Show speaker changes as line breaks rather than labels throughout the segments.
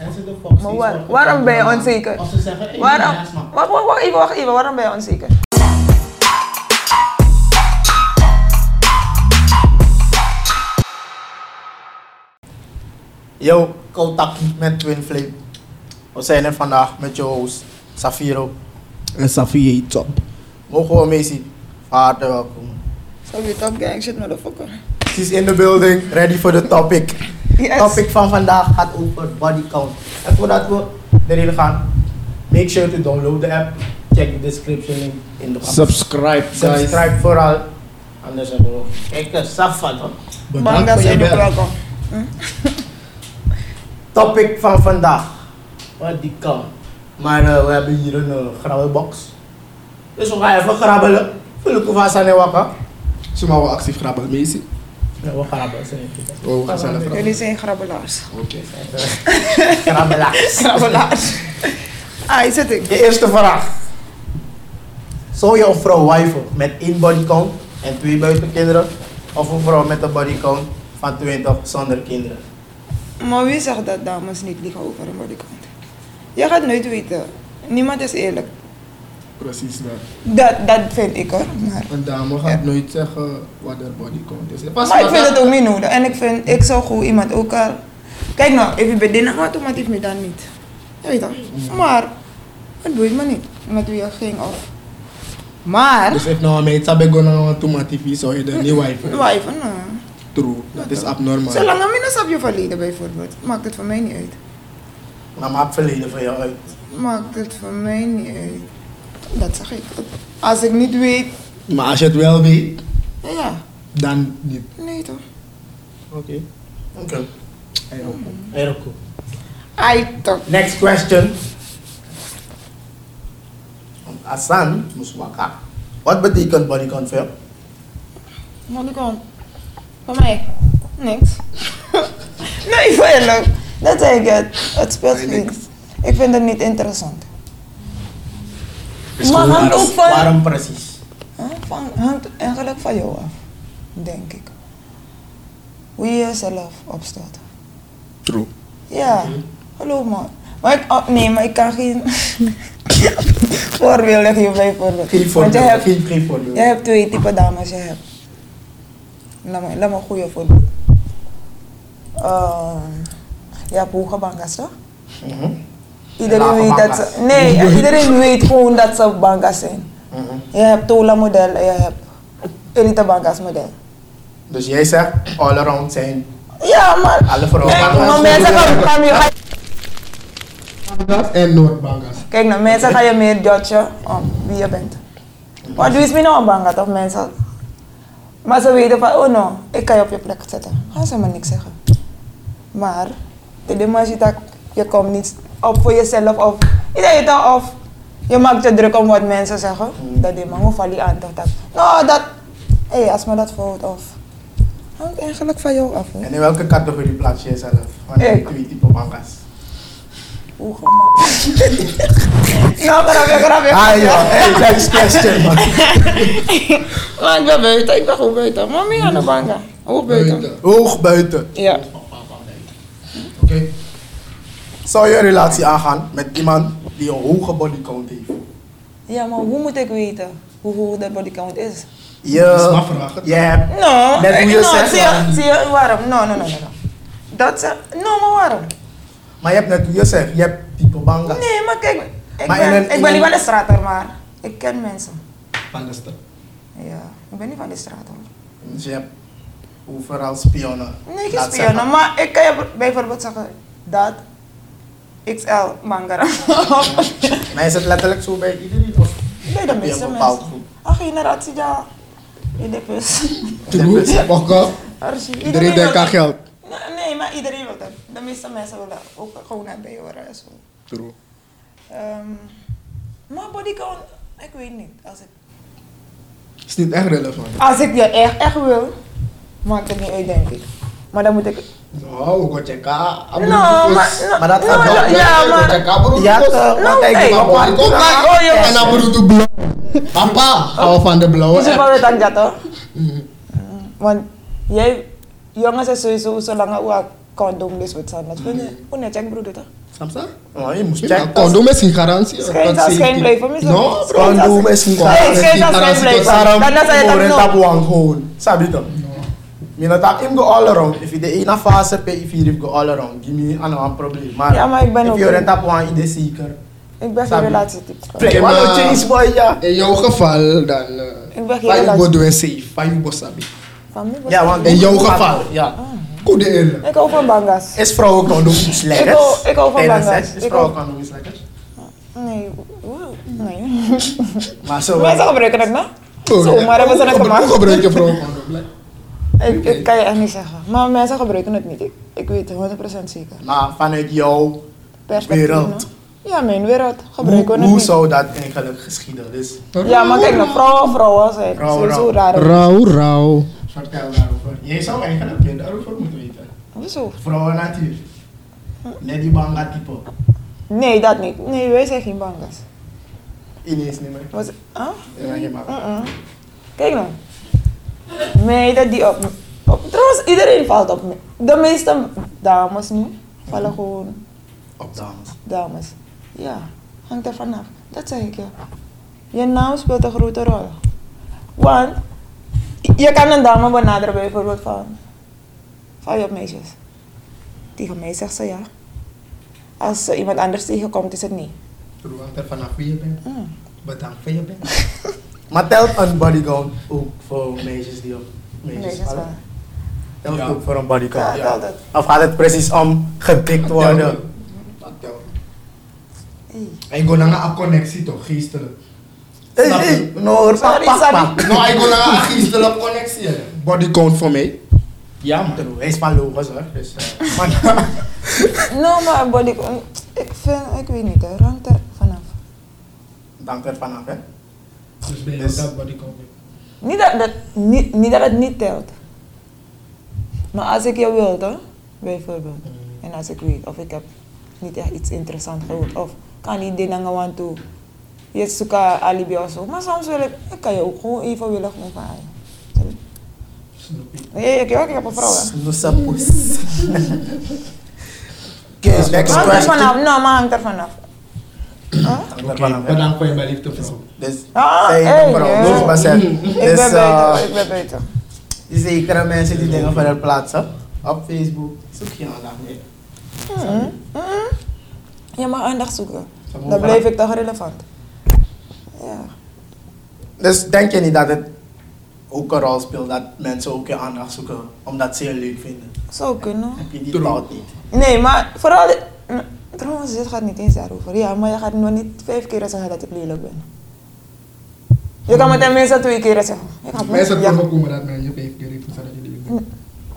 En ze de Fox
Maar waar, waarom ben je onzeker?
Als ze zeggen, ik
Waarom?
ben asma.
Wacht, wacht, wacht even, wacht even. Waarom ben je onzeker?
Yo, Koutaki met Twin Flame. We zijn er vandaag met je host, Safiro.
En Eh, Safie top.
Mogen we meezien? Van Harte welkom.
Zo je top gang shit, motherfucker.
She's in the building, ready for the topic.
Yes.
Het topic van vandaag gaat over body count. En voordat we erin gaan, make sure to download the app. Check the description link in de
Subscribe, guys.
Subscribe vooral. Anders hebben we eh, kijkers. Safat.
Bedankt
Manga
voor je
zijn ook
bel.
welkom.
Topic van vandaag. Body count. Maar eh, we hebben hier een eh, grabbelbox. Dus we gaan even grabbelen. Vul ik vast aan de wakker.
Ze mogen actief grappen, meisje.
Nee, we grabbelen. ze niet.
Oh, we gaan zelf grappen.
Jullie zijn grabbelaars.
Oké.
Grabbelaars.
Grabbelaars. Ah, hier zit ik.
De eerste vraag. Zou je een vrouw wiven met één bodycount en twee buitenkinderen? Of een vrouw met een bodycount van 20 zonder kinderen?
Maar wie zegt dat dames niet liegen over hun bodycount? Je gaat nooit weten. Niemand is eerlijk.
Precies, man.
Dat, dat vind ik hoor. Maar,
Een dame gaat nooit zeggen wat haar eh, body count is. Pas
maar ik vind het ook niet nodig. En ik vind, ik zou goed iemand ook al... Kijk nou, even bij dinner, maar toen heeft me dan niet. Je weet toch?
Mm.
Maar, het boeit me niet. Met wie je ging of... Maar,
Dus ik nou mee, sabe go naar toe maar tv, zou je de nieuwe wife.
wijven, nou.
True, dat is abnormaal.
Zolang er minus op je verleden bijvoorbeeld, maakt het voor mij niet uit.
Nou, maak verleden van jou uit.
Maakt het voor mij niet uit. Dat zeg ik. Als ik niet weet,
Maar als je het wel weet,
ja,
dan niet.
nee toch.
Oké.
Oké.
Hey, ook.
Heel goed.
Ai toch.
Next question. Asan Muswaka. Wat betekent bodycount voor jou?
Wat ik aan? Voor mij? Niks. nee, voor eerlijk. Dat zeg ik het. Het speelt
Nee,
niks. Ik vind het niet interessant.
Is
maar
gewoon
hangt
iets.
ook van...
Waarom precies?
Huh? Van, hangt eigenlijk van jou af, denk ik. Hoe je jezelf opstelt.
True.
Ja, hallo man. Maar ik, oh, nee, maar ik kan geen voorbeelden geven bijvoorbeeld.
Geen
Want je
voorbeeld.
hebt,
Geen, geen voorbeeld.
je hebt twee type dames, je hebt. Laat me, laat me een goede voorbeeld. Ehm, je hebt hoge bangas toch?
Mhm,
Iedereen
Lage
weet dat
bangas.
ze, nee, iedereen weet gewoon dat ze bangas zijn.
mhm.
Je hebt Tola model en je hebt Elite bangas model.
Dus jij zegt all around zijn
Ja, maar.
alle vrouwen.
Kijk, maar mensen gaan, gaan je, gaan-
Bangas en Noord-Bangas.
Kijk nou, mensen gaan je meer judgen om wie je bent. Want doe is me nou een bang dat of mensen. Maar ze weten van, oh no, ik kan je op je plek zetten. Gaan ze me niks zeggen. Maar, de demonstratie dat je komt niet op voor jezelf of, je weet toch, of je maakt je druk om wat mensen zeggen. Dat die man of die aandacht dat. Nou, dat, hé, als me dat voelt of. Hangt eigenlijk van jou af. Hoor.
En in welke categorie plaats je jezelf? Van die
Ik.
twee type bankas.
Hoe gemaakt. nou, grapje, grapje.
Ah ja, hey, next question man.
Maar ik ben buiten, ik ben goed buiten. Mami aan de bank. Hoe buiten?
Hoog buiten.
Ja.
Oké.
Zou je een relatie aangaan met iemand die een hoge bodycount heeft?
Ja, maar hoe moet ik weten hoe hoog dat bodycount is?
Dat is
Je,
maar vragen.
je hebt...
Nou,
Net hoe je
nou,
zegt,
zie
man.
je, zie je, waarom? Nou, nou, nou, nou. Dat ze, nou, maar waarom?
Maar je hebt net hoe je zegt, je hebt type bangas.
Nee, maar kijk, ik
Maar in
ben,
een- in
ik ben niet
een-
van de straat, hoor, maar ik ken mensen.
Van de stad.
Ja, ik ben niet van de straat. hoor.
Dus je hebt overal spionnen.
Nee, geen
Laat
spionnen,
zeggen.
maar ik kan je bijvoorbeeld zeggen dat XL mangara.
Maar is het letterlijk zo bij iedereen? Of
Bij
heb je
de
een
meeste
bepaald
mensen.
groep?
Ach, generatie, ja. In de bus.
True. Oké.
Archie,
Iedereen denkt
wil-
aan geld.
Nee, Nee, maar iedereen wil dat. De meeste mensen willen ook gewoon bij horen. en Zo.
True.
e Ehm, maar bodycount, ik weet niet. Als ik,
Is niet echt relevant.
als ik je echt, echt wil, maakt het niet uit, denk ik. Maar dan moet ik...
Nou, gocheka.
No, maar... no,
Maar dat
no,
gaat
no,
wel-
ja, e, maar...
Ja, eh, wat denk je
hey,
van
papa,
bodycount?
maar- oh, joh.
En dan bedoel ik blauw. Papa, hou van de eh. blauwe.
Is het wel weer dat dat, hoor?
Mhm.
Want e jij... Jongens is sowieso zolang je ook condoom is met z'n allen. Hoe net, hoe net, ik broeder, toch?
Samsa?
Oh, je moest
Ja,
checken.
condoom is geen garantie.
Schijn-
dat
zal
zeg
schijn
ik.
blijven, misschien.
No, bro.
Schijn-
Condoom is geen
Condoom is
schijn-
geen
schijn
garantie,
blijven.
dat
Saram,
Dan is hij het
moren
ook
tap
nog.
wang gewoon. Sabi to. Mina tap him go all around. If you de ina fase pe, if you go all around, give me an one probleem. Maar,
Ja, maar ik ben
if
ook-
you rent tap wang, ide seeker.
Ik ben geen
Sabi.
relatietype.
Play,
Oké,
wat
maar-
een change boy, ja.
In jouw geval dan. eh,
Ik ben geen
Waar je
relatie.
wordt doen safe, waar je wordt sabi.
Familie
Ja, want
In jouw geval.
Ja.
Goede eerlijk.
Ik hou van banga's.
Is vrouwen condoom iets lekkers?
Ah. Ik hou- ik hou van
Tijdens
banga's.
seks, Is
Ik
vrouwen
hou-
condoom iets lekkers?
Nee, wow, nee.
Maar zo
Mensen
wel.
gebruiken het, nou? Zomaar hebben ze het
Hoe
gemaakt.
gebruik je vrouwen condoom? Blijf.
Ik, ik kan je echt niet zeggen. Maar mensen gebruiken het niet. Ik, ik weet het 100% zeker.
Maar vanuit
Oh,
jou,
Perspectief,
Wereld.
no? Ja, mijn wereld.
hoe,
Gebruiken we het
hoe
niet.
zou dat eigenlijk geschieden? Dus,
Ja, maar kijk, nou, vrouwen, vrouwen zijn
Vrouw,
sowieso
vrouw.
raar.
Rauw, rauw.
vertel daarover. Jij zou eigenlijk meer daarover moeten weten.
Hoezo?
Vrouwen natuur. Lady Banga type.
Nee, dat niet. Nee, wij zijn geen bangas.
Ineens niet meer.
Wat? Huh?
Ja, je mag.
Mm-mm. Kijk nou. Meiden die op, op... Trouwens, iedereen valt op me. De meeste dames nu vallen gewoon
Op dames.
dames. Ja, hangt er vanaf. Dat zeg ik je. Je naam speelt een grote rol. Want je kan een dame benaderen bijvoorbeeld van... Val je op meisjes? Tegen mij zegt ze ja. Als ze iemand anders tegenkomt, is het nee.
Doe hangt er vanaf wie je bent.
Mm.
Bedankt voor je bent.
Maar telt een bodycount ook voor meisjes die op meisjes
Meisjes wel.
vallen? Telt
Ja.
ook voor een bodycount?
Ja, telt het.
Of gaat het precies om gedikt worden?
Dat telt.
Hey.
Ik ga naar een connectie toch, geestelijk.
Hey,
Snap
hey,
je?
no, hoor, pak,
Sorry,
pak,
sorry.
pak.
Nou, ik ga naar een geestelijke connectie. hè. Body count voor mij. Ja, man.
Hij is van Logos hoor, dus... eh, man.
Nou, maar body... Ik vind... Ik weet niet, hè. Hangt er vanaf.
Dank er vanaf hè.
Dus ben
Dus-
dat body count. hebt.
Niet dat, dat, niet, niet dat het niet telt. Maar als ik je wilde, bijvoorbeeld, en als ik weet of ik heb niet echt iets interessants gehoord, of kan niet dingen gaan toe, je zoekt een alibi of zo. Maar soms wil ik, ik kan je ook gewoon evenwillig omvaaien.
Snoepie.
Nee, ik, ik heb een vrouw. hè.
Snoesapus. Oké, dus next
Hangt er
question.
vanaf, nou, maar hangt er vanaf.
Dank er
Oké,
vanaf hè.
bedankt voor je beliefde vrouw.
Dus,
Ah,
zij
hey,
een vrouw,
ja.
Logos hè.
Ik
Dus,
ben
eh,
beter, ik ben beter.
die zekere mensen die dingen verder plaatsen op Facebook, zoek je aandacht mee.
Mm, mm. Je mag aandacht zoeken.
Zal ik
Dan
overal-
blijf ik toch relevant. Ja.
Dus denk je niet dat het ook een rol speelt dat mensen ook je aandacht zoeken omdat ze je leuk vinden?
Zou kunnen.
Heb je die
True.
thought niet?
Nee, maar vooral. de- N- Trouwens, dit gaat niet eens daarover. Ja, maar je gaat nog niet vijf keer zeggen dat ik lelijk ben. Je kan me tenminste twee keer zeggen. Ik had
Mensen
ja,
kunnen komen dat men je vijf keer heeft gezegd dat je die bent.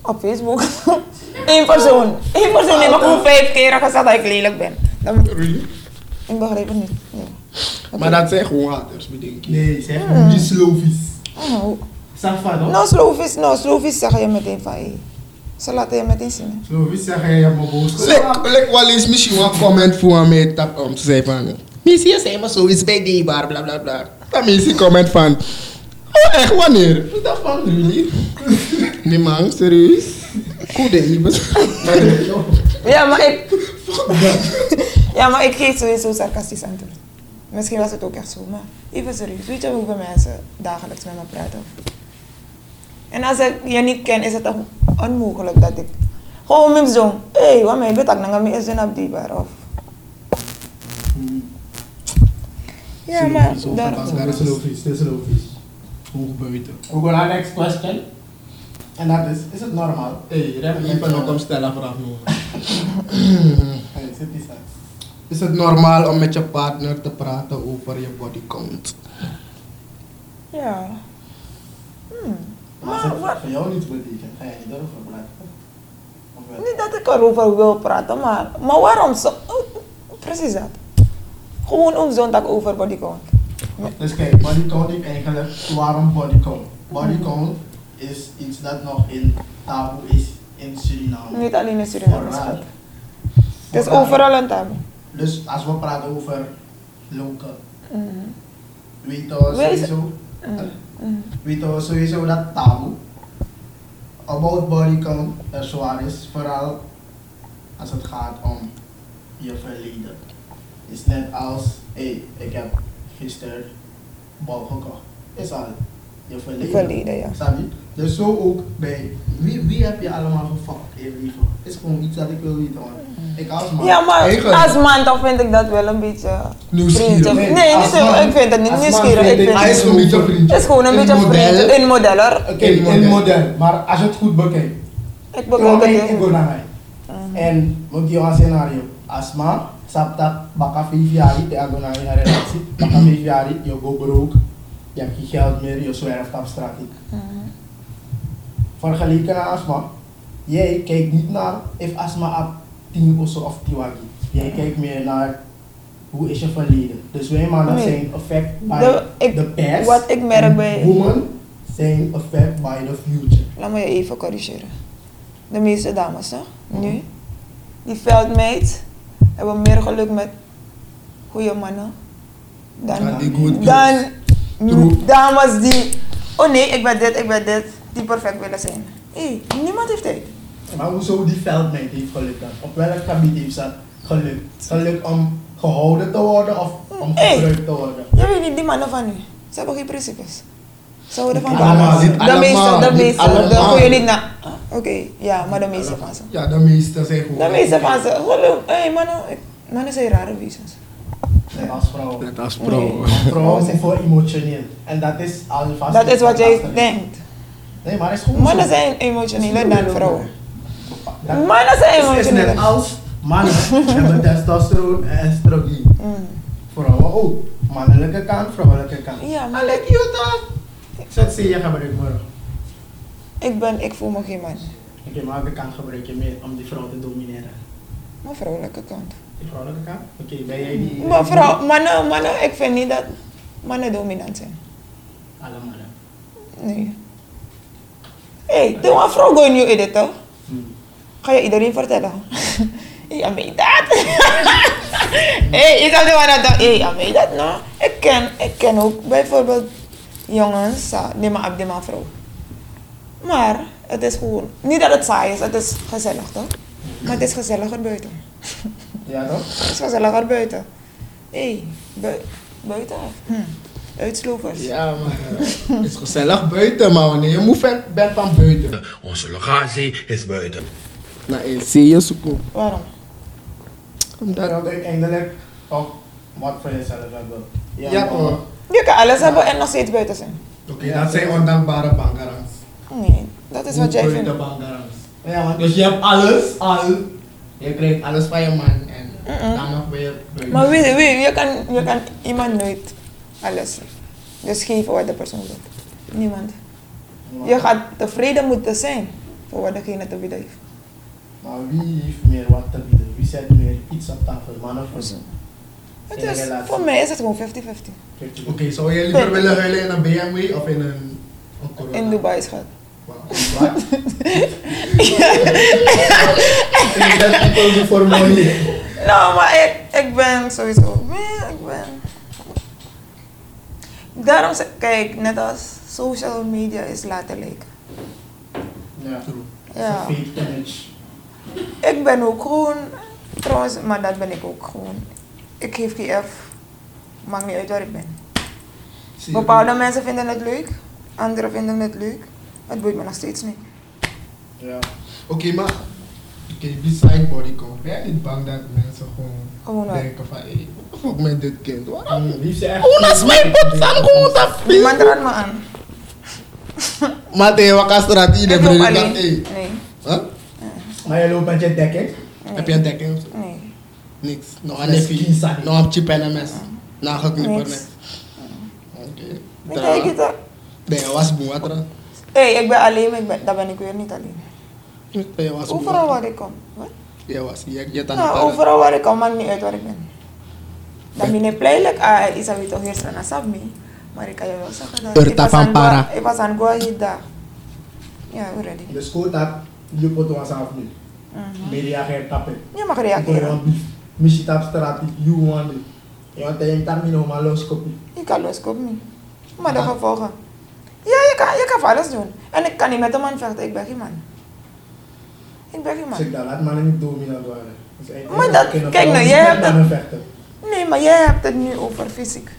op Facebook. Eén persoon. Eén persoon heeft me gewoon vijf keer gezegd dat ik lelijk ben. Dan,
Really?
ik begrijp het niet. Nee.
Maar dat zijn gewoon haters, bedenk je.
Nee, zeg maar.
Die slovies.
Oh,
Safa, no?
nou, sloofies, nou, sloofies zeggen je meteen van hé. Ze laten je meteen zien.
Zo, wie zeg jij hebt me boos
Lek, lek wel eens misschien een comment voor mij tap om te zeggen van... Missie, je zei maar zoiets bij die bar, bla bla bla. Dan missie comment van... Oh, echt wanneer? Ik dacht van, really? Nee man, serieus? Goede liefdes.
hè. Ja, maar ik. ja, maar ik geef sowieso sarcastisch antwoord. Misschien was het ook echt zo, maar even serieus. Weet je hoeveel mensen dagelijks met me praten? En als ik je niet ken, is het toch onmogelijk dat ik. Gewoon mijn zoon. Hé, hey, wat mij betak, dan ga ik eens op die bar. Of... Ja, maar. Daar...
Dat is
logisch, dat is logisch.
Hoe buiten.
We gaan naar de next question. En dat is, is het normaal?
Hé, rem even nog om stellen vraag nu.
Hey, zit die straks.
Is het normaal om met je partner te praten over je body count?
Ja. Hmm.
Maar als
Maar
het
wat?
voor jou niets betekent, ga je niet erover praten. Of wel?
Niet dat ik erover wil praten, maar, maar waarom zo? Oh, Precies dat. Gewoon om zo'n dag over body count.
Dus kijk, bodycount ik eigenlijk, waarom bodycount? Bodycount is iets dat nog in taboe is in Suriname.
Niet alleen in Suriname.
Vooral.
schat. Het is
Vooral.
overal een taboe.
Dus als we praten over local,
Mhm.
Mm, weten we
Wees-
sowieso, mm,
Mhm. Mhm.
weten we sowieso dat taboe eh, um, about bodycount er zwaar is, vooral als het gaat om je verleden. Is net als, hé, hey, ik heb gisteren bal gekocht. Is al je verleden.
Verleden, ja.
Snap je? Dus zo ook bij wie, wie heb je allemaal gefokt in je leven? Is gewoon iets dat ik wil weten, man. Ik als man.
Ja, maar
Eigen.
als man toch vind ik dat wel een beetje...
Nieuwsgierig.
vriendje-
Nee,
Nee,
als
niet zo,
man-
ik vind het niet
als man
nieuwsgierig. Ik
vind ik-
vind
Hij is een beetje vriendje.
het is gewoon een beetje vriendje, een modeller.
Oké,
In
in
model.
model. Maar als je het goed bekijkt.
Ik
Terwijl
bekijk
ik
het
ik
heel
naar mij. En moet je een scenario. Asma, sabta, baka vijf jaar, je gaat naar een relatie. Baka vijf jaar, je go broke. Je hebt geen geld meer, je zwerft op straat. Vergeleken naar asma. Jij kijkt niet naar if asma op 10 of zo of 10 wagi. Jij kijkt meer naar hoe is je verleden. Dus wij mannen
Nee.
zijn affect by
De- ik-
the past.
wat ik merk
en
bij-
Women zijn affect by the future.
Laat me je even corrigeren. De meeste dames, hè, nu, die veldmeid, hebben meer geluk met goede mannen
Ja,
dan,
die good girls.
dan
True.
dames die, oh nee, ik ben dit, ik ben dit, die perfect willen zijn. Hé, niemand heeft tijd.
Maar hoezo die veldmeid heeft geluk dan? Op welk gebied heeft ze geluk? Geluk om gehouden te worden of om
Hey.
gebruikt te worden?
Je weet niet, die mannen van nu, ze hebben geen principes. Ze houden van
Niet
balans.
allemaal, niet
De meeste,
allemaal,
de
niet
meeste, daar
allemaal.
kun je niet na. Ah, Oké, ja, maar de meeste van ze.
Ja, de meeste zijn gewoon.
De meeste van ze, geluk, hé mannen, ik- mannen zijn rare wezens.
Net als vrouwen.
Net als pro.
Want Vrouwen zijn voor emotioneel. En dat is alvast.
Dat is wat jij
lastig.
denkt.
Nee, maar het is gewoon.
Mannen
zo.
zijn emotioneler dan vrouwen.
Dat-
Mannen zijn
Het is net
emotioneler.
als mannen hebben testosteron en estrogen.
Mm.
Vrouwen ook. Mannelijke kant, vrouwelijke kant.
Ja, maar-
Allee, cute Zet ze je gebruik maar.
Ik ben, ik voel me geen man.
Oké, maar welke kant gebruik je meer om die vrouw te domineren?
Mijn vrouwelijke kant.
Die vrouwelijke kant? Oké, ben jij die...
Maar vrouw, mannen, mannen, ik vind niet dat mannen dominant zijn.
Alle mannen.
Nee. Hé, hey, doe maar vrouw go nu in dit toch?
Hmm.
Ga je iedereen vertellen? Ja, meen dat? Hé, ik heb de mannen dat. Hé, ja, meen dat nou? Ik ken, ik ken ook bijvoorbeeld jongens, ah, die maar op die maar vrouw. Maar het is gewoon, niet dat het saai is, het is gezellig toch? Maar het is gezelliger buiten.
Ja toch?
Het is gezelliger buiten. Hé, hey, bui- buiten. Hm. Uitslovers.
Ja, maar het is gezellig buiten, maar wanneer je moe ven- bent van buiten.
Onze locatie is buiten.
Nou, in je zoeken.
Waarom?
Dat
Omdat
wil ik eindelijk toch wat voor jezelf hebben.
Ja, hoor.
Je kan alles hebben en nog steeds buiten zijn.
Oké, dat zijn ondankbare bangarans.
Nee, dat is wat jij
Onbeurde
vindt.
bangarans.
Ja, want
Dus je hebt alles, al. Je krijgt alles van je man en dan nog weer buiten.
Maar weet, weet, je, kan, je kan iemand nooit alles geven. Dus geven wat de persoon wil. Niemand. Je gaat tevreden moeten zijn voor wat degene te bieden heeft.
Maar wie heeft meer wat te bieden? Wie zet meer iets op tafel? Mannen of
Dus
vrouwen?
het is, voor mij is het gewoon 50-50.
Kijk,
Oké, zou je liever willen huilen in een BMW of in een, een corona?
In Dubai is het.
Wat? Ik dat people do for money.
Nou, maar ik, ik ben sowieso. Nee, ik ben. Daarom zeg kijk, net als social media is laten lijken.
Ja.
Ja.
Fake image.
Ik ben ook gewoon, trouwens, maar dat ben ik ook gewoon. Ik geef die F, maakt niet uit waar ik ben.
Zie je?
Bepaalde mensen vinden het leuk, anderen vinden het leuk. Het boeit me nog steeds niet.
Ja.
Oké, maar. Oké, beside body count. Ben jij niet bang dat mensen gewoon
Gewoon wat?
denken van, hé, wat eh, fuck met dit kind? Waarom?
Wie heeft ze echt...
Hoe laat mijn pop staan gewoon te
Niemand raadt me aan.
Maar tegen wakker straat hier, de
Ik loop
vrienden
alleen.
dat, hé.
Nee,
Huh?
Maar jij loopt met je dekking?
Eh.
Heb je een dekking of zo?
nee.
Niks. Nog een
Mes
neffie.
kiezen.
Nog een chip en een mes.
Mm.
Nageknipperd.
Niks.
niks. Oké.
Ik kijk het al.
Nee, je was moe, wat er?
Hé, ik ben alleen, maar ik ben, dat ben ik weer niet alleen.
Je was moe.
Overal waar ik kom. Wat?
Je was, je je tanden.
Nou, overal waar ik kom, maakt niet uit waar ik ben. Dan ben ik pleilijk, ah, is dat toch eerst aan Sabmi. Maar ik kan je wel zeggen dat
Urta
ik was
van
aan
Para.
Goa- ik was aan Guahida. Ja, already.
De school dat je pot was af nu. Media gaat tappen.
Mhm. Je mag
Gewoon
reageren.
een beef. Misschien tap straat, you want it. Je want een termijn om een loskopie.
Je kan loskomen. niet. Maar de gevolgen. Ja, je kan, je kan van alles doen. En ik kan niet met een man vechten, ik ben geen man. Ik ben geen man.
Zeg dat, Dus laat mannen niet dominant worden. Dus eigenlijk
Maar dat-
kunnen
kijk
vrouwen
nou, jij
niet
hebt
met mannen vechten.
Nee, maar jij hebt het nu over fysiek.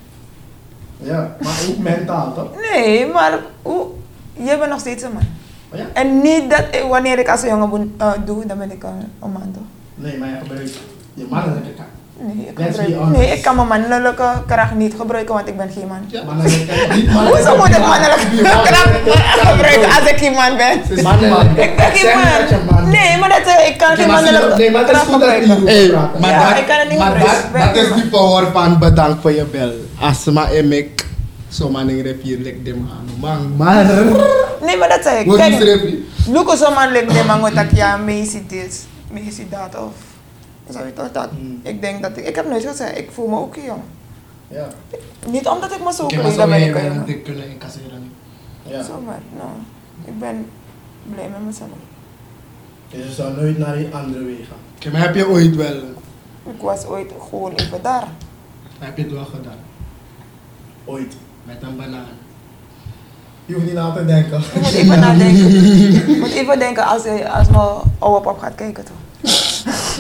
Ja, maar ook mentaal toch?
Nee, maar hoe, jij bent nog steeds een man.
Maar ja,
En niet dat ik- wanneer ik als een jongen boen- eh, doe, dan ben ik een, een man toch?
nee, maar je gebruikt je mannelijke kant.
Nee ik,
Let's be
gebruik-
honest.
nee, ik kan mijn mannelijke kracht niet gebruiken, want ik ben geen man.
Ja.
Mannelijke kant, niet
Hoezo moet ik mannelijke
Ja,
kracht gebruiken als ik geen man ben?
Het is man, man.
Ik ben geen
Zeg dat je
man. Nee, maar dat, eh, ik kan geen
Nee, maar
mannelijke
het is
Eh,
kracht
goed dat je
gebruiken.
Hey,
hierover
maar
praat.
maar Ja, ik kan het
dat,
niet
maar dat,
gebruiken.
dat is die power van bedankt voor je ya, bel. Asma en ik, zomaar een repier lek dem anu, aan. Man, maar.
Nee, maar dat zei ik.
Wat is
Kijk,
repier?
Luko zomaar lijkt de man dat ik ja, meisje dit, meisje dat of. Zo je toch dat?
Hmm.
Ik denk dat ik, ik heb nooit gezegd, ik voel me ook een jongen.
Ja,
Niet omdat ik me zo voel,
Oké, maar
dan
zou
ben
jij
ik een
wel een
jongen.
tik kunnen incasseren?
ja.
Zomaar, no. nou, Ik ben blij met mezelf.
Dus je zou nooit naar die andere weg gaan.
Oké, maar heb je ooit wel,
Ik was ooit gewoon even daar.
heb je het wel gedaan?
Ooit.
Met een banaan.
Je hoeft niet na te denken.
Ik moet even nadenken. Ik moet even denken als, hij- als mijn oude pap gaat kijken toch.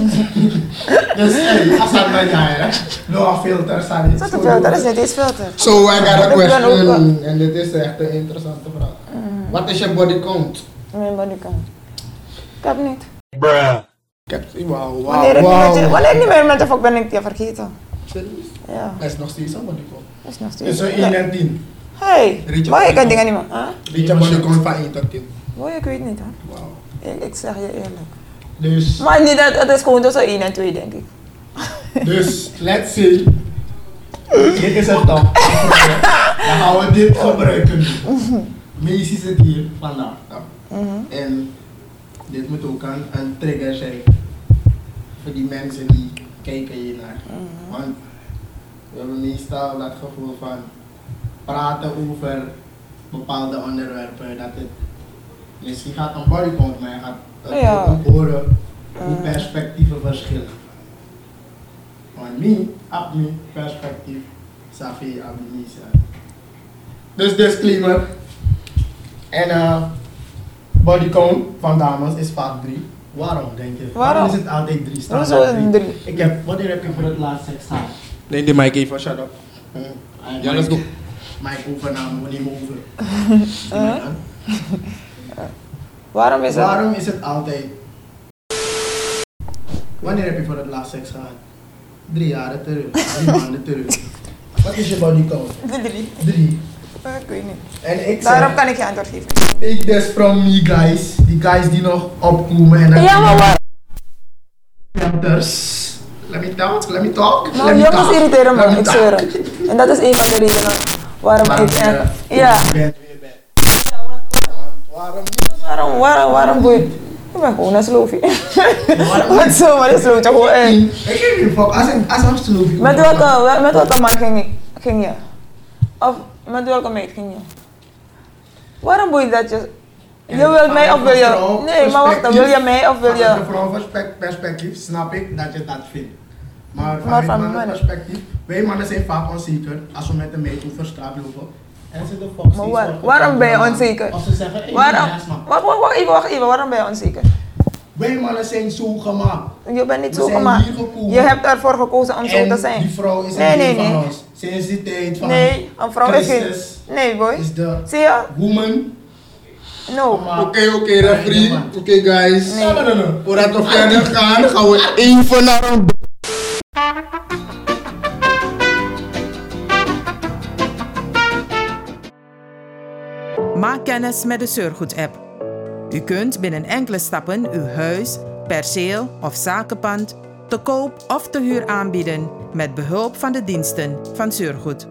Dus,
eh,
hey, als dat bij jou, hè?
ya.
Noah filter, sorry.
Zo te veel, dat is niet eens filter.
Zo, so, I got a
Ik ben ook
question.
wel-
En dit is eh, echt een interessante vraag. Wat is je body count?
Mijn body kan. Ik heb niet.
Ik heb wow, wow,
Wanneer ik niet
wow.
met je- wanneer ik niet meer met de fuck ben, ik je vergeten. Ja,
Dat is nog steeds een body count.
dat is nog steeds.
Dus zo'n 1 en 10.
Hey,
Richard,
maar ik
Richard.
kan dingen niet meer. Huh?
Weet je body count van 1 tot 10?
Boy, ik weet niet hoor.
Wow.
Ik, ik zeg je eerlijk.
Dus,
Maar niet dat, het is gewoon tussen 1 en 2 denk ik.
dus, let's see. Dit is het dan. Dan gaan we dit gebruiken. Meestal zit hier vandaag. toch?
Mhm.
En dit moet ook een, een trigger zijn. Voor die mensen die kijken hiernaar. Want we hebben meestal dat gevoel van praten over bepaalde onderwerpen. Dat het misschien gaat om bodycount, maar je gaat het
Ja.
ook horen hoe perspectieven verschillen. Want mij, op mijn perspectief, Safi Abdelisa. Dus disclaimer. En eh body count van dames is vaak 3. Waarom denk je?
Waarom?
is het altijd 3? Staan
Hoezo
daar
een
drie?
drie?
Ik heb, wanneer heb je voor het laatst seks gehad?
Nee, die mic even, shut up.
Ah,
Ja, let's go.
Mike overnaam, we nemen over.
Waarom is dat?
Waarom is het altijd? Wanneer heb je voor het laatst seks gehad? Drie jaren terug, drie maanden terug. Wat is je body count?
De drie.
Drie.
Eh, Ik weet niet.
En ik
Daarom
zeg,
kan ik je antwoord geven.
ik des from me guys, die guys die nog opkomen en dan
Ja, maar waar?
filters. Let me talk, let me talk.
Nou,
let me
jongens
talk,
irriteren
let
me,
me
ik
talk.
zweer het. En dat is een van de redenen waarom
Waarom
ik... eh,
je-
Ja,
je bent weer bij. Waarom
waarom, waarom, waarom boeit? Ik ben gewoon een sloofie.
waarom-
Wat zo, maar een slootje gewoon
niet?
echt.
Ik geef je een fuck, als ik als ik snoep.
Met welke, wel- met welke man ging, ik- ging je? Of met welke meid ging je? Waarom boeit dat je... Je wilt mij of wil je... Nee, maar wacht, dan wil je mij of wil
Vanuit
je...
een vrouwenperspec- perspectief snap ik dat je dat vindt. Maar
Maar
vanuit
van
mannen
mannen?
perspectief, wij mannen zijn vaak onzeker als we met een meid over straat lopen. En ze de fuck
Maar waar- waarom ben je onzeker?
Als ze zeggen, hey,
Waarom?
nee, asma.
Wacht, wacht, wacht even, wacht even. Waarom ben je onzeker?
Wij mannen zijn zo gemaakt.
Je bent niet
We
zo
zijn
gemaakt.
hier gekomen.
Je hebt ervoor gekozen om zo
en
te zijn.
die vrouw is een
Nee, nee,
deel van
nee.
ons. Sinds die tijd van
Nee, een vrouw is geen...
Christus
Nee, boy.
is de
Zie je?
woman.
No.
gemaakt.
Oké, oké, referee. Oké, guys.
Nee, nee, nee, nee.
Voordat we verder gaan, gaan we even naar een...
Maak kennis met de Surgoed-app. U kunt binnen enkele stappen uw huis, perceel of zakenpand te koop of te huur aanbieden met behulp van de diensten van Surgoed.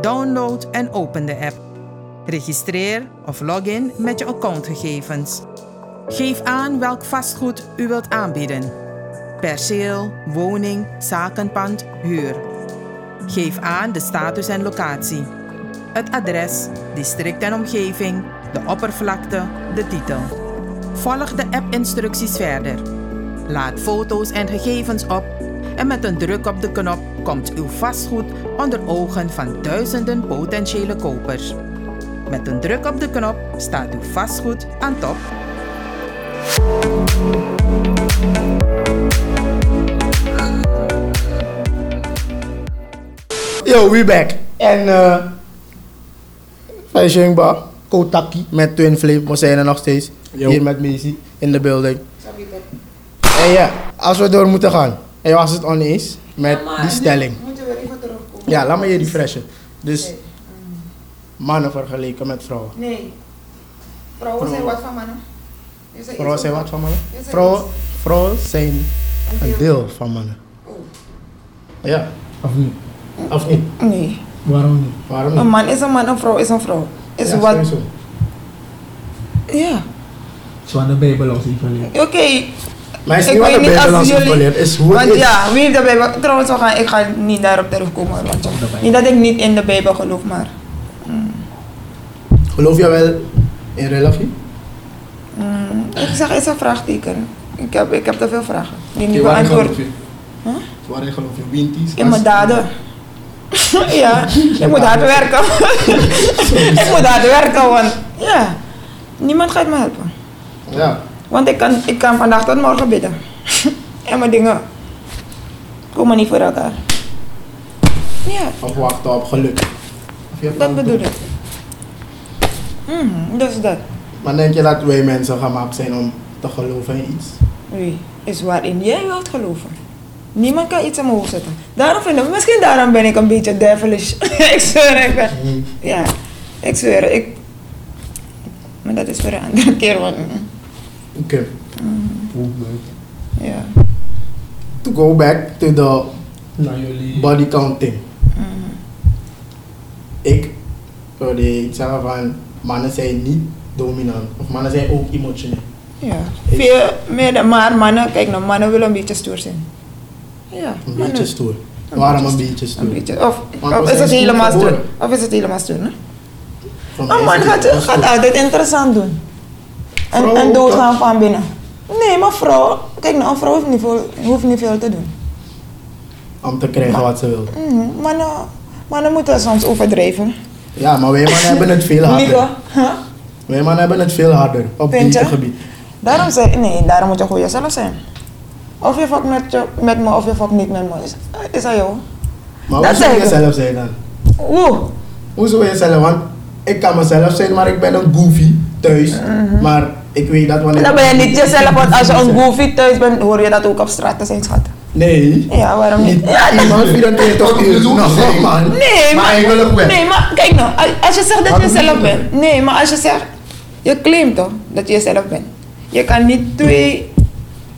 Download en open de app. Registreer of log in met je accountgegevens. Geef aan welk vastgoed u wilt aanbieden. Perceel, woning, zakenpand, huur. Geef aan de status en locatie het adres, district en omgeving, de oppervlakte, de titel. Volg de app-instructies verder. Laat foto's en gegevens op en met een druk op de knop komt uw vastgoed onder ogen van duizenden potentiële kopers. Met een druk op de knop staat uw vastgoed aan top.
Yo, we back. En eh Fai Ba, Kotaki met Twin Flame. We zijn er nog steeds. Hier met Macy in de building. En ja, als we door moeten gaan. En je was het oneens met die stelling.
Moeten we even terugkomen?
Ja, laat me je refreshen. Dus mannen vergeleken met vrouwen.
Nee. Vrouwen zijn wat van mannen. Je zei
Vrouwen
iets
zijn
over-
wat van mannen?
Je zei
Vrouwen,
iets.
vrouwen zijn een deel van mannen. Ja,
Of niet?
of niet?
Nee.
Waarom niet?
Waarom
Een
niet?
man is een man, een vrouw is een vrouw. Is
Ja,
wat.
sowieso.
Ja.
Zo aan de Bijbel ons niet verleerd.
Oké.
Maar is
Ik
niet wat de
weet niet
Bijbel
als
ons
jullie.
geleerd is hoe het
Want
is.
ja, wie heeft de Bijbel. Trouwens, we gaan, ik ga niet daarop terugkomen. Want
de Bijbel.
niet dat ik niet in de Bijbel geloof, maar.
Geloof jij wel in religie?
mm, ik zeg, het is een vraagteken. Ik heb, ik heb te veel vragen. Die niet
Oké, waarin
beantwoord.
geloof je?
Huh?
Waarin geloof je? Winties?
In mijn daden. ja, ik moet hard werken. ik moet hard werken, want ja, niemand gaat me helpen.
Ja.
Want ik kan, ik kan vandaag tot morgen bidden. en mijn dingen komen niet voor elkaar. Ja,
Of wachten op geluk. Of je hebt
dat
wel-
bedoel ik. Mhm, dus dat.
Maar denk je dat wij mensen gemaakt zijn om te geloven in iets?
Wie is waarin jij wilt geloven. Niemand kan iets in mijn hoofd zetten. Daarom vind ik, misschien daarom ben ik een beetje devilish. ik zweer, ik ben, ja, ik zweer, ik, maar dat is voor een andere keer, want, mm,
Oké.
ja.
To go back to the
Naar jullie.
body counting.
Mm-hmm.
Ik wilde iets zeggen van mannen zijn niet dominant. Of mannen zijn ook emotioneel.
ja. Veel meer, dan- maar mannen, kijk nou, mannen willen een beetje stoer zijn. Ja,
Een
mannen.
beetje stoer. Waarom een beetje stoer?
Een Mm-hmm. beetje, of,
Want we
of is
zijn
het
stoer
helemaal stoer?
geboren.
Of is het helemaal stoer, hè?
Voor mij
Een
is
Oh, man
het
gaat,
wel stoer.
gaat altijd interessant doen. En,
Vrouwen
en
ook,
doodgaan van binnen. Nee, maar vrouw, kijk nou, een vrouw hoeft niet veel, hoeft niet veel te doen.
Om te krijgen wat ze wil.
Mhm, Mannen, mannen moeten soms overdrijven.
Ja, maar wij mannen hebben het veel
Nico,
harder.
huh?
Wij mannen hebben het veel harder op
Vind
dit
je?
gebied.
daarom, zeg, nee, daarom moet je goed jezelf zijn. Of je fuck met, je, met me of je fuck niet met me. Is, is aan jou.
Maar
Dat
hoe
zeg
zou je
ik.
jezelf zijn dan?
Oeh,
Hoe zou je jezelf? Want ik kan mezelf zijn, maar ik ben een goofy thuis. Maar ik weet dat wanneer...
Mm-hmm. dan ben je niet jezelf, want als je een goofy thuis bent, hoor je dat ook op straat te zijn, schat.
Nee.
Ja, waarom niet?
Ja, iemand 24 uur. Nog, man.
Nou, Nee,
Maar
maar,
eigenlijk wel.
nee, maar kijk nou, als- als je zegt dat
Maar
je
dat
zelf
moet je
bent. Nee, maar als je zegt, je claimt toch dat je jezelf bent. Je kan niet twee.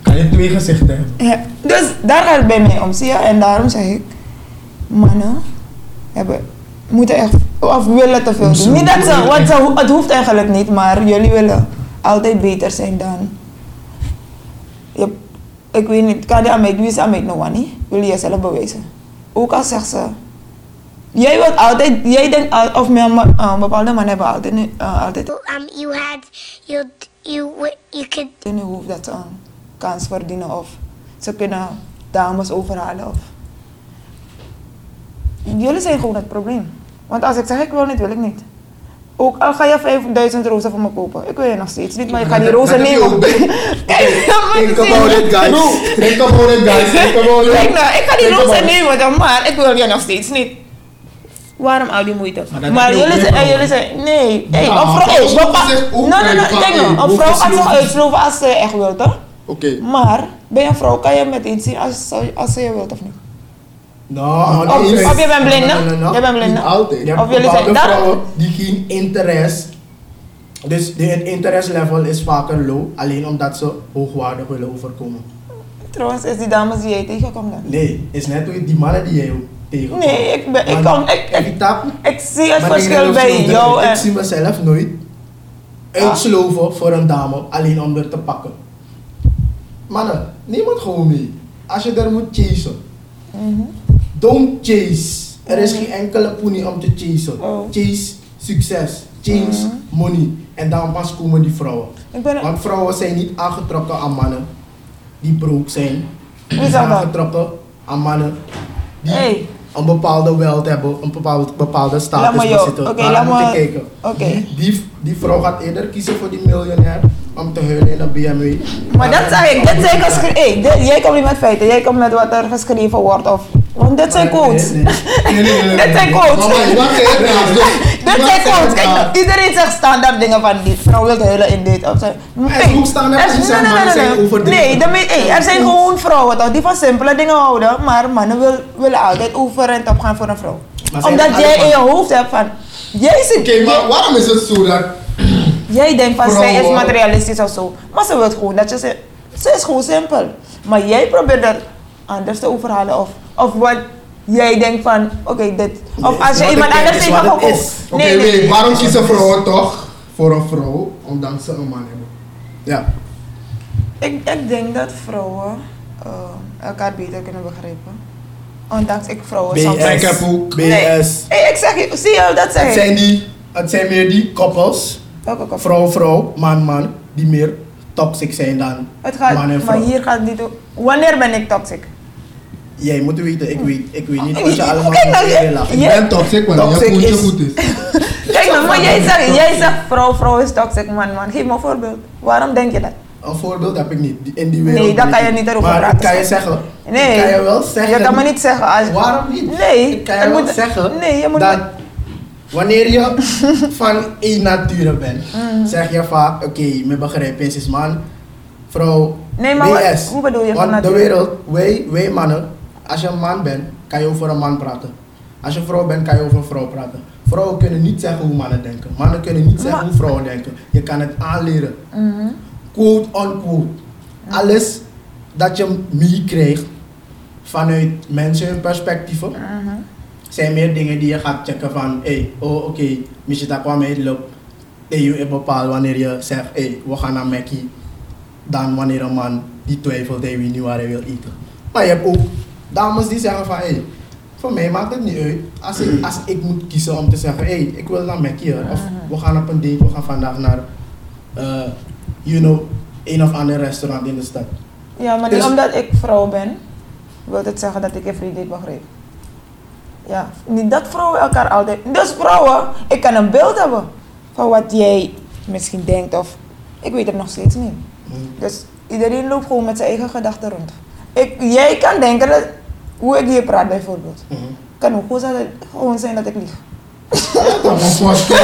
Kan je twee gezichten hebben?
Ja, dus daar gaat het bij mij om, zie je? En daarom zeg ik, mannen hebben, moeten echt, of willen te veel doen. Niet dat ze, want ze, het hoeft eigenlijk niet, maar jullie willen altijd beter zijn dan. Je, ik weet niet, kan je aan mij doen, is aan mij nog niet. Wil je jezelf bewijzen. Ook al zegt ze, jij wilt altijd, jij denkt, al- of meer, ma- eh, bepaalde mannen hebben altijd, een- eh, altijd
um, you had you you you could
in hun hoofd dat ze een kans verdienen of ze kunnen dames overhalen of... Jullie zijn gewoon het probleem. Want als ik zeg ik wil niet, wil ik niet. Ook al ga je 5000 rozen voor me kopen, ik wil je nog steeds niet, maar je gaat die
Dat-
rozen
dat heb je
nemen.
ook, babe.
Kijk, dat moet je
Think about
zien.
it, guys. Think about it, guys. Think about it.
Kijk nou, ik ga die
Think about
rozen
it.
nemen dan, maar ik wil je nog steeds niet. Waarom al die moeite?
Maar dat
Maar,
heb je ook
jullie,
bij
zijn, en
vrouwen.
jullie zijn, nee, hey,
Ja,
een vrouw
vrouwen
is bepaald.
zeggen ook
Nee, nee, nee,
bij
kijk
vrouwen,
nou, een
hoe
vrouw gaat zich
gesloten.
uitsloven als ze echt wil, toch?
Oké.
Maar bij een vrouw kan je meteen zien als, ze- als ze je wilt of niet.
Nou,
Of-
niet eens.
of je bent blind, hè?
Nee, nee, nee, nee.
Je bent blind,
Niet
hè?
altijd. Je
Of
hebt
jullie zijn-
bepaalde
dat-
vrouwen die geen interesse... Dus hun interest level is vaker low, alleen omdat ze hoogwaardig willen overkomen.
Trouwens, is die dames die jij tegenkomt dan?
Nee, is net hoe die mannen die jij ook tegenkomt.
Nee, ik ben- ik
Maar nou,
kom- ik- ik-
die tap-
Ik zie het
maar die
verschil
dingen
bij
doen ze
jou
nooit.
en... Ah.
Ik zie mezelf nooit uitsloven voor een dame alleen om er te pakken. Mannen, niemand gewoon mee. Als je er moet chasen.
Mhm.
Don't chase. Er is geen enkele poenie om te chasen.
Oh. Mhm.
Chase succes. Chase money. En dan pas komen die vrouwen.
Ik ben-
Want vrouwen zijn niet aangetrokken aan mannen die broek zijn.
Wie
Die zijn
zegt dat?
aangetrokken aan mannen die
Hey.
een bepaalde weld hebben, een bepaalde, bepaalde status
Laat maar, joh.
bezitten.
Oké,
Daarom
laat
moet je
maar.
kijken.
Oké.
Die, die, die vrouw gaat eerder kiezen voor die miljonair om te huilen in een BMW.
Maar dat zei ik, dat zei ik als... ge- Hey, dit- jij komt niet met feiten, jij komt met wat er geschreven wordt of... Want dit zijn quotes.
Nee, nee, nee, nee, nee,
Dit zijn
nee.
quotes.
Maar wacht, wacht, even, even, even.
Dit
Wacht
zijn
even,
quotes.
even.
Kijk, iedereen zegt standaard dingen van die vrouw wil huilen in dit of zo.
Maar er is ook standaard
Er-
die zijn
nee, nee,
mannen
nee,
zijn
nee.
overdreven.
Nee, dat meen- hey, er zijn gewoon vrouwen toch die van simpele dingen houden, maar mannen wil, willen altijd over en top gaan voor een vrouw.
Maar zijn
Omdat
er
jij in je
mannen?
hoofd hebt van, jij zit,
Oké, maar waarom is het zo dat
jij denkt van zij is
Vrouwen.
materialistisch of zo, maar ze wil gewoon dat je ze, ze is gewoon simpel. Maar jij probeert dat anders te overhalen of, of wat jij denkt van, oké dit, of
is
als je
wat
iemand
het is,
anders
is
ziet van,
wat
oh,
het
oh.
is.
Oké, nee, waarom kiezen vrouwen toch voor een vrouw, ondanks ze een man hebben?
Ja.
Ik, ik denk dat vrouwen eh, elkaar beter kunnen begrijpen. Ondanks ik vrouwen
BS.
soms...
Ik heb ook BS.
Hey, ik zeg je, zie je, dat
Het
zeg
zijn
ik.
die, het zijn meer die koppels,
Welke kop?
vrouw, vrouw, man, man, die meer toxic zijn dan
Het gaat,
man en
maar
vrouw.
hier gaat het niet om. Wanneer ben ik toxic?
Jij moet weten, ik weet, ik weet niet wat je
Kijk
allemaal
nou,
moet
je-
willen.
je-
En toxic, wanneer je
Toxic
voelt
is-
je goed is.
Kijk nou, maar jij zegt, jij zegt vrouw, vrouw is toxic, man, man. Geef me een voorbeeld. Waarom denk je dat?
Een voorbeeld heb ik niet, die- in die wereld
Nee, dat
weet
kan je
ik.
niet erover
maar
praten.
ik kan je zeggen,
Nee.
ik kan je wel zeggen.
Je kan me niet zeggen als...
Waarom niet?
Nee.
Ik kan
je
je wel
moet-
zeggen
Nee, je moet...
dat wanneer je van één nature bent,
Mm.
zeg je vaak, oké, me begrijp je, is man, vrouw,
Nee, maar wat-
BS.
hoe bedoel je van
Want de
nature?
wereld, wij, wij mannen, als je een man bent, kan je over een man praten. Als je vrouw bent, kan je over een vrouw praten. Vrouwen kunnen niet zeggen hoe mannen denken. Mannen kunnen niet zeggen
Maar-
hoe vrouwen denken. Je kan het aanleren. Quote unquote. Alles dat je meekrijgt vanuit mensen hun perspectieven, zijn meer dingen die je gaat checken van, hé, hey, oh oké, misschien dat kwam heel leuk. Dat je bepaalt wanneer je zegt, hé, hey, we gaan naar Mackie. Dan wanneer een man die twijfelt, dat je niet waar hij wil eten. Maar je hebt ook dames die zeggen van, hé, hey, voor mij maakt het niet uit. Als ik, als ik moet kiezen om te zeggen, hé, hey, ik wil naar Mackie hoor. Of
Ah.
we gaan op een date, we gaan vandaag naar, eh, you know, een of ander restaurant in de stad.
Ja, maar niet
Dus-
omdat ik vrouw ben, wil het zeggen dat ik een vriendin begreep. Ja, niet dat vrouwen elkaar altijd. Dus vrouwen, ik kan een beeld hebben van wat jij misschien denkt of ik weet het nog steeds niet. Dus iedereen loopt gewoon met zijn eigen gedachten rond. Ik, jij kan denken dat hoe ik hier praat bijvoorbeeld, kan ook gewoon zijn dat- gewoon zijn dat ik lieg.
Dat was voorstel.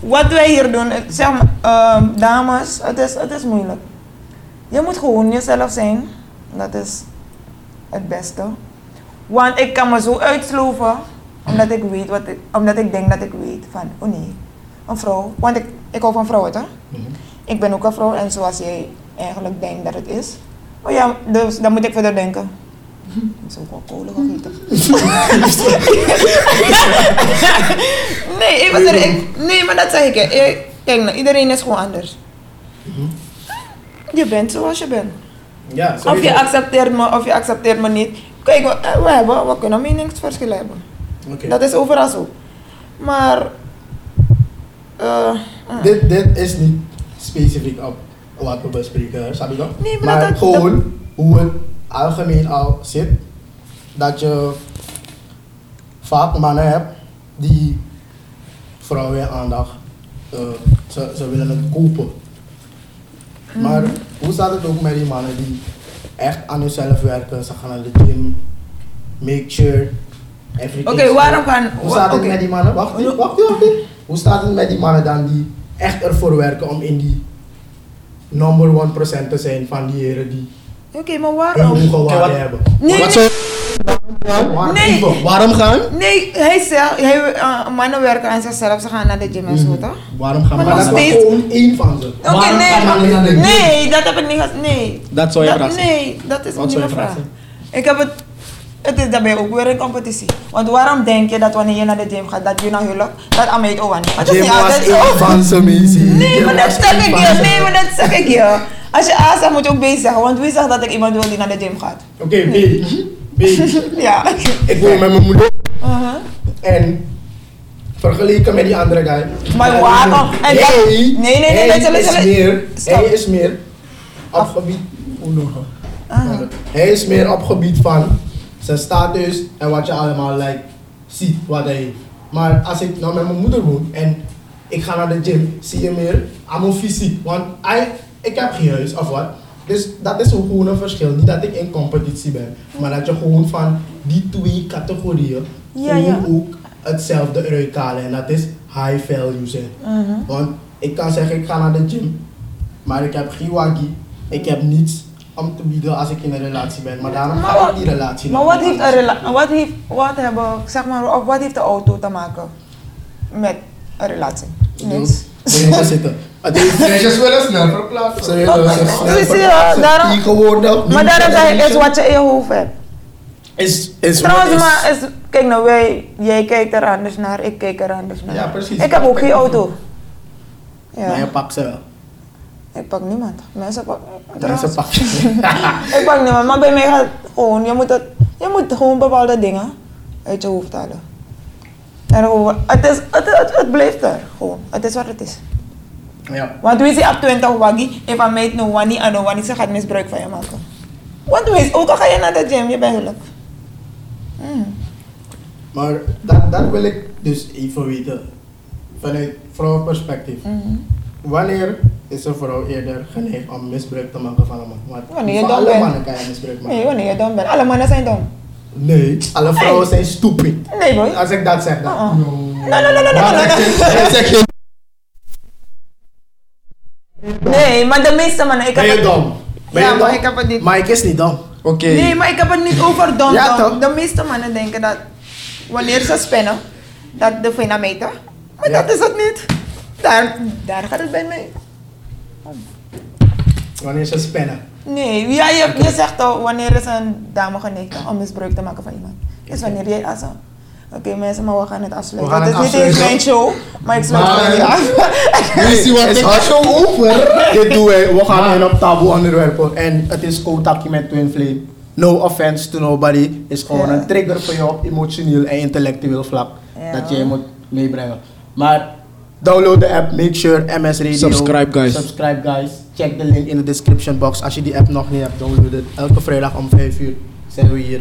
Wat wij hier doen, ik zeg maar, ehm, dames, het is, het is moeilijk. Je moet gewoon jezelf zijn. Dat is het beste. Want ik kan me zo uitsloven, omdat ik weet wat ik, omdat ik denk dat ik weet van, oh nee, een vrouw. Want ik, ik hou van vrouwen, toch? Ik ben ook een vrouw en zoals jij eigenlijk denkt dat het is. Oh ja, dus dan moet ik verder denken. Ik heb ook wel kolen gegeten. nee, ik was er, ik- nee, maar dat zeg ik. hè. Ik- Kijk, nou, iedereen is gewoon anders. Je bent zoals je bent.
Ja,
Of je
sowieso.
accepteert me of je accepteert me niet. Kijk, we, eh, we, hebben, we kunnen meningsverschillen hebben.
Oké.
Dat is overal zo. Maar. eh, mm.
Dit, dit is niet specifiek op wat we bespreken, snap je toch?
Nee, maar
maar
dat- dat-
gewoon hoe het algemeen al zit. Dat je vaak mannen hebt die vrouwen hun aandacht, eh, ze, ze willen het kopen.
Mhm.
Maar hoe staat het ook met die mannen die echt aan hunzelf werken? Ze gaan naar de gym, make sure, everything.
Oké, waarom gaan-
Hoe staat het
oké.
met die mannen? Wacht, wacht, wacht, wacht. Hoe staat het met die mannen dan die echt ervoor werken om in die number one percent te zijn van die heren die
Oké, maar
hun
waarom?
hoge waarde hebben?
Nee,
Wat
nee,
zou
Waarom-
Nee.
waarom gaan?
nee, hij zegt, hij, eh, mannen werken aan zichzelf, ze gaan naar de gym en
Mhm.
zo, toch?
Waarom gaan
Maar
mannen?
nog
Dat is
steeds-
gewoon één van ze.
Oké,
Waarom
nee,
gaan
maar-
mannen naar de gym?
nee, dat heb ik niet gezegd. Nee.
Dat zou je vraag zijn.
Nee, dat is
Wat
niet
zou
mijn
je
vraag.
vraag zijn?
Ik heb het. Het is daarbij ook weer een competitie. Want waarom denk je dat wanneer je naar de gym gaat, dat je naar huwelijk, dat aan mij ook aan? Het is
Jim
niet
was
altijd
één
zo.
van ze, Maisie.
Nee,
Jim
maar dat
was
zeg
één
ik
van
je.
ze.
Nee, maar dat zeg ik je. Als je A zegt, moet je ook B zeggen. Want wie zegt dat ik iemand wil die naar de gym gaat?
Oké, B. B.
Ja.
Ik woon met mijn moeder.
Uh-huh.
En vergeleken met die andere guy.
Maar
hij-
waarom? En dat-
Hij-
nee, nee, nee,
hij
nee, zullen-
is
zullen-
meer.
Stop.
Hij is meer op gebied. Hoe noem je
Ah.
dat? Hij is meer op gebied van zijn status en wat je allemaal like, ziet, wat hij heeft. Maar als ik nou met mijn moeder woon en ik ga naar de gym, zie je meer aan mijn fysiek. Want I, ik heb geen huis of wat. Dus dat is ook gewoon een verschil. Niet dat ik in competitie ben, maar dat je gewoon van die twee categorieën
Ja, ja.
gewoon ook hetzelfde eruit halen. En dat is high value zijn.
Mhm.
Want ik kan zeggen, ik ga naar de gym, maar ik heb geen waggie. Ik heb niets om te bieden als ik in een relatie ben. Maar daarom
Maar
ga
wat-
ik die relatie
Maar
nog
wat
niet
heeft, een rela- wat heeft, wat hebben, zeg maar, of wat heeft de auto te maken met een relatie? Niks.
Beneden zitten. Het is-
Meisjes willen snel verplaatsen.
Sorry,
Oh,
dat is-
zie je, daarom-
Die geworden.
Maar daarom zeg ik, is wat je in je hoofd hebt.
Is, is
Trouwens,
is-
maar is, kijk nou, wij, jij kijkt er anders naar, ik kijk er anders naar.
Ja, precies.
Ik heb ook geen auto. Ja,
Maar je pakt ze wel.
ik pak niemand. Mensen pakken.
Mensen
trouwens,
pakken ze.
Ik pak niemand, maar bij mij gaat het gewoon, je moet, het, je moet gewoon bepaalde dingen uit je hoofd halen. En gewoon, het, is, het, het, het blijft er gewoon. Het is wat het is.
Ja.
Want we zijn op 20 waggie, en van nou mij no wani en no wani, ze gaat misbruik van je maken. Want wees, ook al ga je naar de gym, je bent gelukkig.
Maar dat, dat wil ik dus even weten. Vanuit vrouwenperspectief.
Mhm.
Wanneer is een vrouw eerder geneigd om misbruik te maken van een man? Want
Wanneer je
van
dom
alle
bent.
mannen kan je misbruik maken.
Nee, wanneer je dom bent. Alle mannen zijn dom.
Nee, alle vrouwen zijn stupid.
Nee, boy.
Als ik dat zeg dan.
Uh-uh. Nee, nee, nee, nee, nee,
Maar
nee,
ik
nee.
zeg- ik zeg geen
Nee, maar de meeste mannen, ik heb
Ben je
het...
Nee, dom? Ben
Ja,
je
maar
dom?
ik heb het niet-
Maar ik is niet dom.
Oké.
Nee, maar ik heb het niet over dom.
Ja,
dom.
toch?
De meeste mannen denken dat wanneer ze spinnen, dat de vena meten. Maar
Ja.
dat is het niet. Daar, daar gaat het bij mij.
Wanneer ze spannen.
Nee, ja, je, je zegt al wanneer is een dame geneigd om misbruik te maken van iemand. Dus wanneer jij als een- Oké mensen, maar we gaan het afsluiten.
We gaan
Het is
het
niet eens
afsluiten.
mijn show, maar ik sluit
Maar-
gewoon niet af.
Missy, wat
is
ik-
hard zo over. Dit doen wij. We gaan in op taboe onderwerpen. En het is Kotaki met Twin Flame. No offense to nobody. Is gewoon
Ja.
een trigger voor jou op emotioneel en intellectueel vlak.
Ja.
Dat je moet meebrengen. Maar download de app. Make sure MS Radio.
Subscribe, guys.
Subscribe guys. Check de link in de description box. Als je die app nog niet hebt, download het. Elke vrijdag om 5 uur zijn we hier.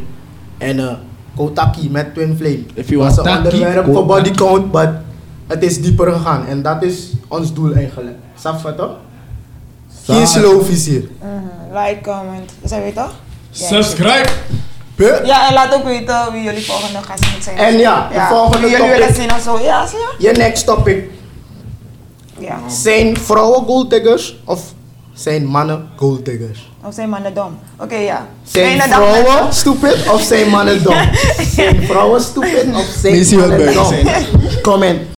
En eh, Kotaki met Twin Flame.
If you
was
want
een
Taki,
onderwerp voor
Kotaki.
body count, but het is dieper gegaan. En dat is ons doel eigenlijk. Snap je toch? Geen slow vizier.
Like, comment, zij weet toch? Ja.
Subscribe.
Huh?
Ja, en laat ook weten wie jullie volgende gast moet zijn.
En ja, de volgende
Wie jullie
topic.
willen zien of zo. Ja, zie je?
Je next topic.
Ja.
Zijn vrouwen goaldiggers of zijn mannen goaldiggers?
Of zijn mannen dom? Oké, ja.
Zijn
Fijne dag,
vrouwen
mensen.
stupid of zijn mannen dom? Zijn vrouwen stupid of zijn
Missy wil
mannen
buiten
dom? Comment.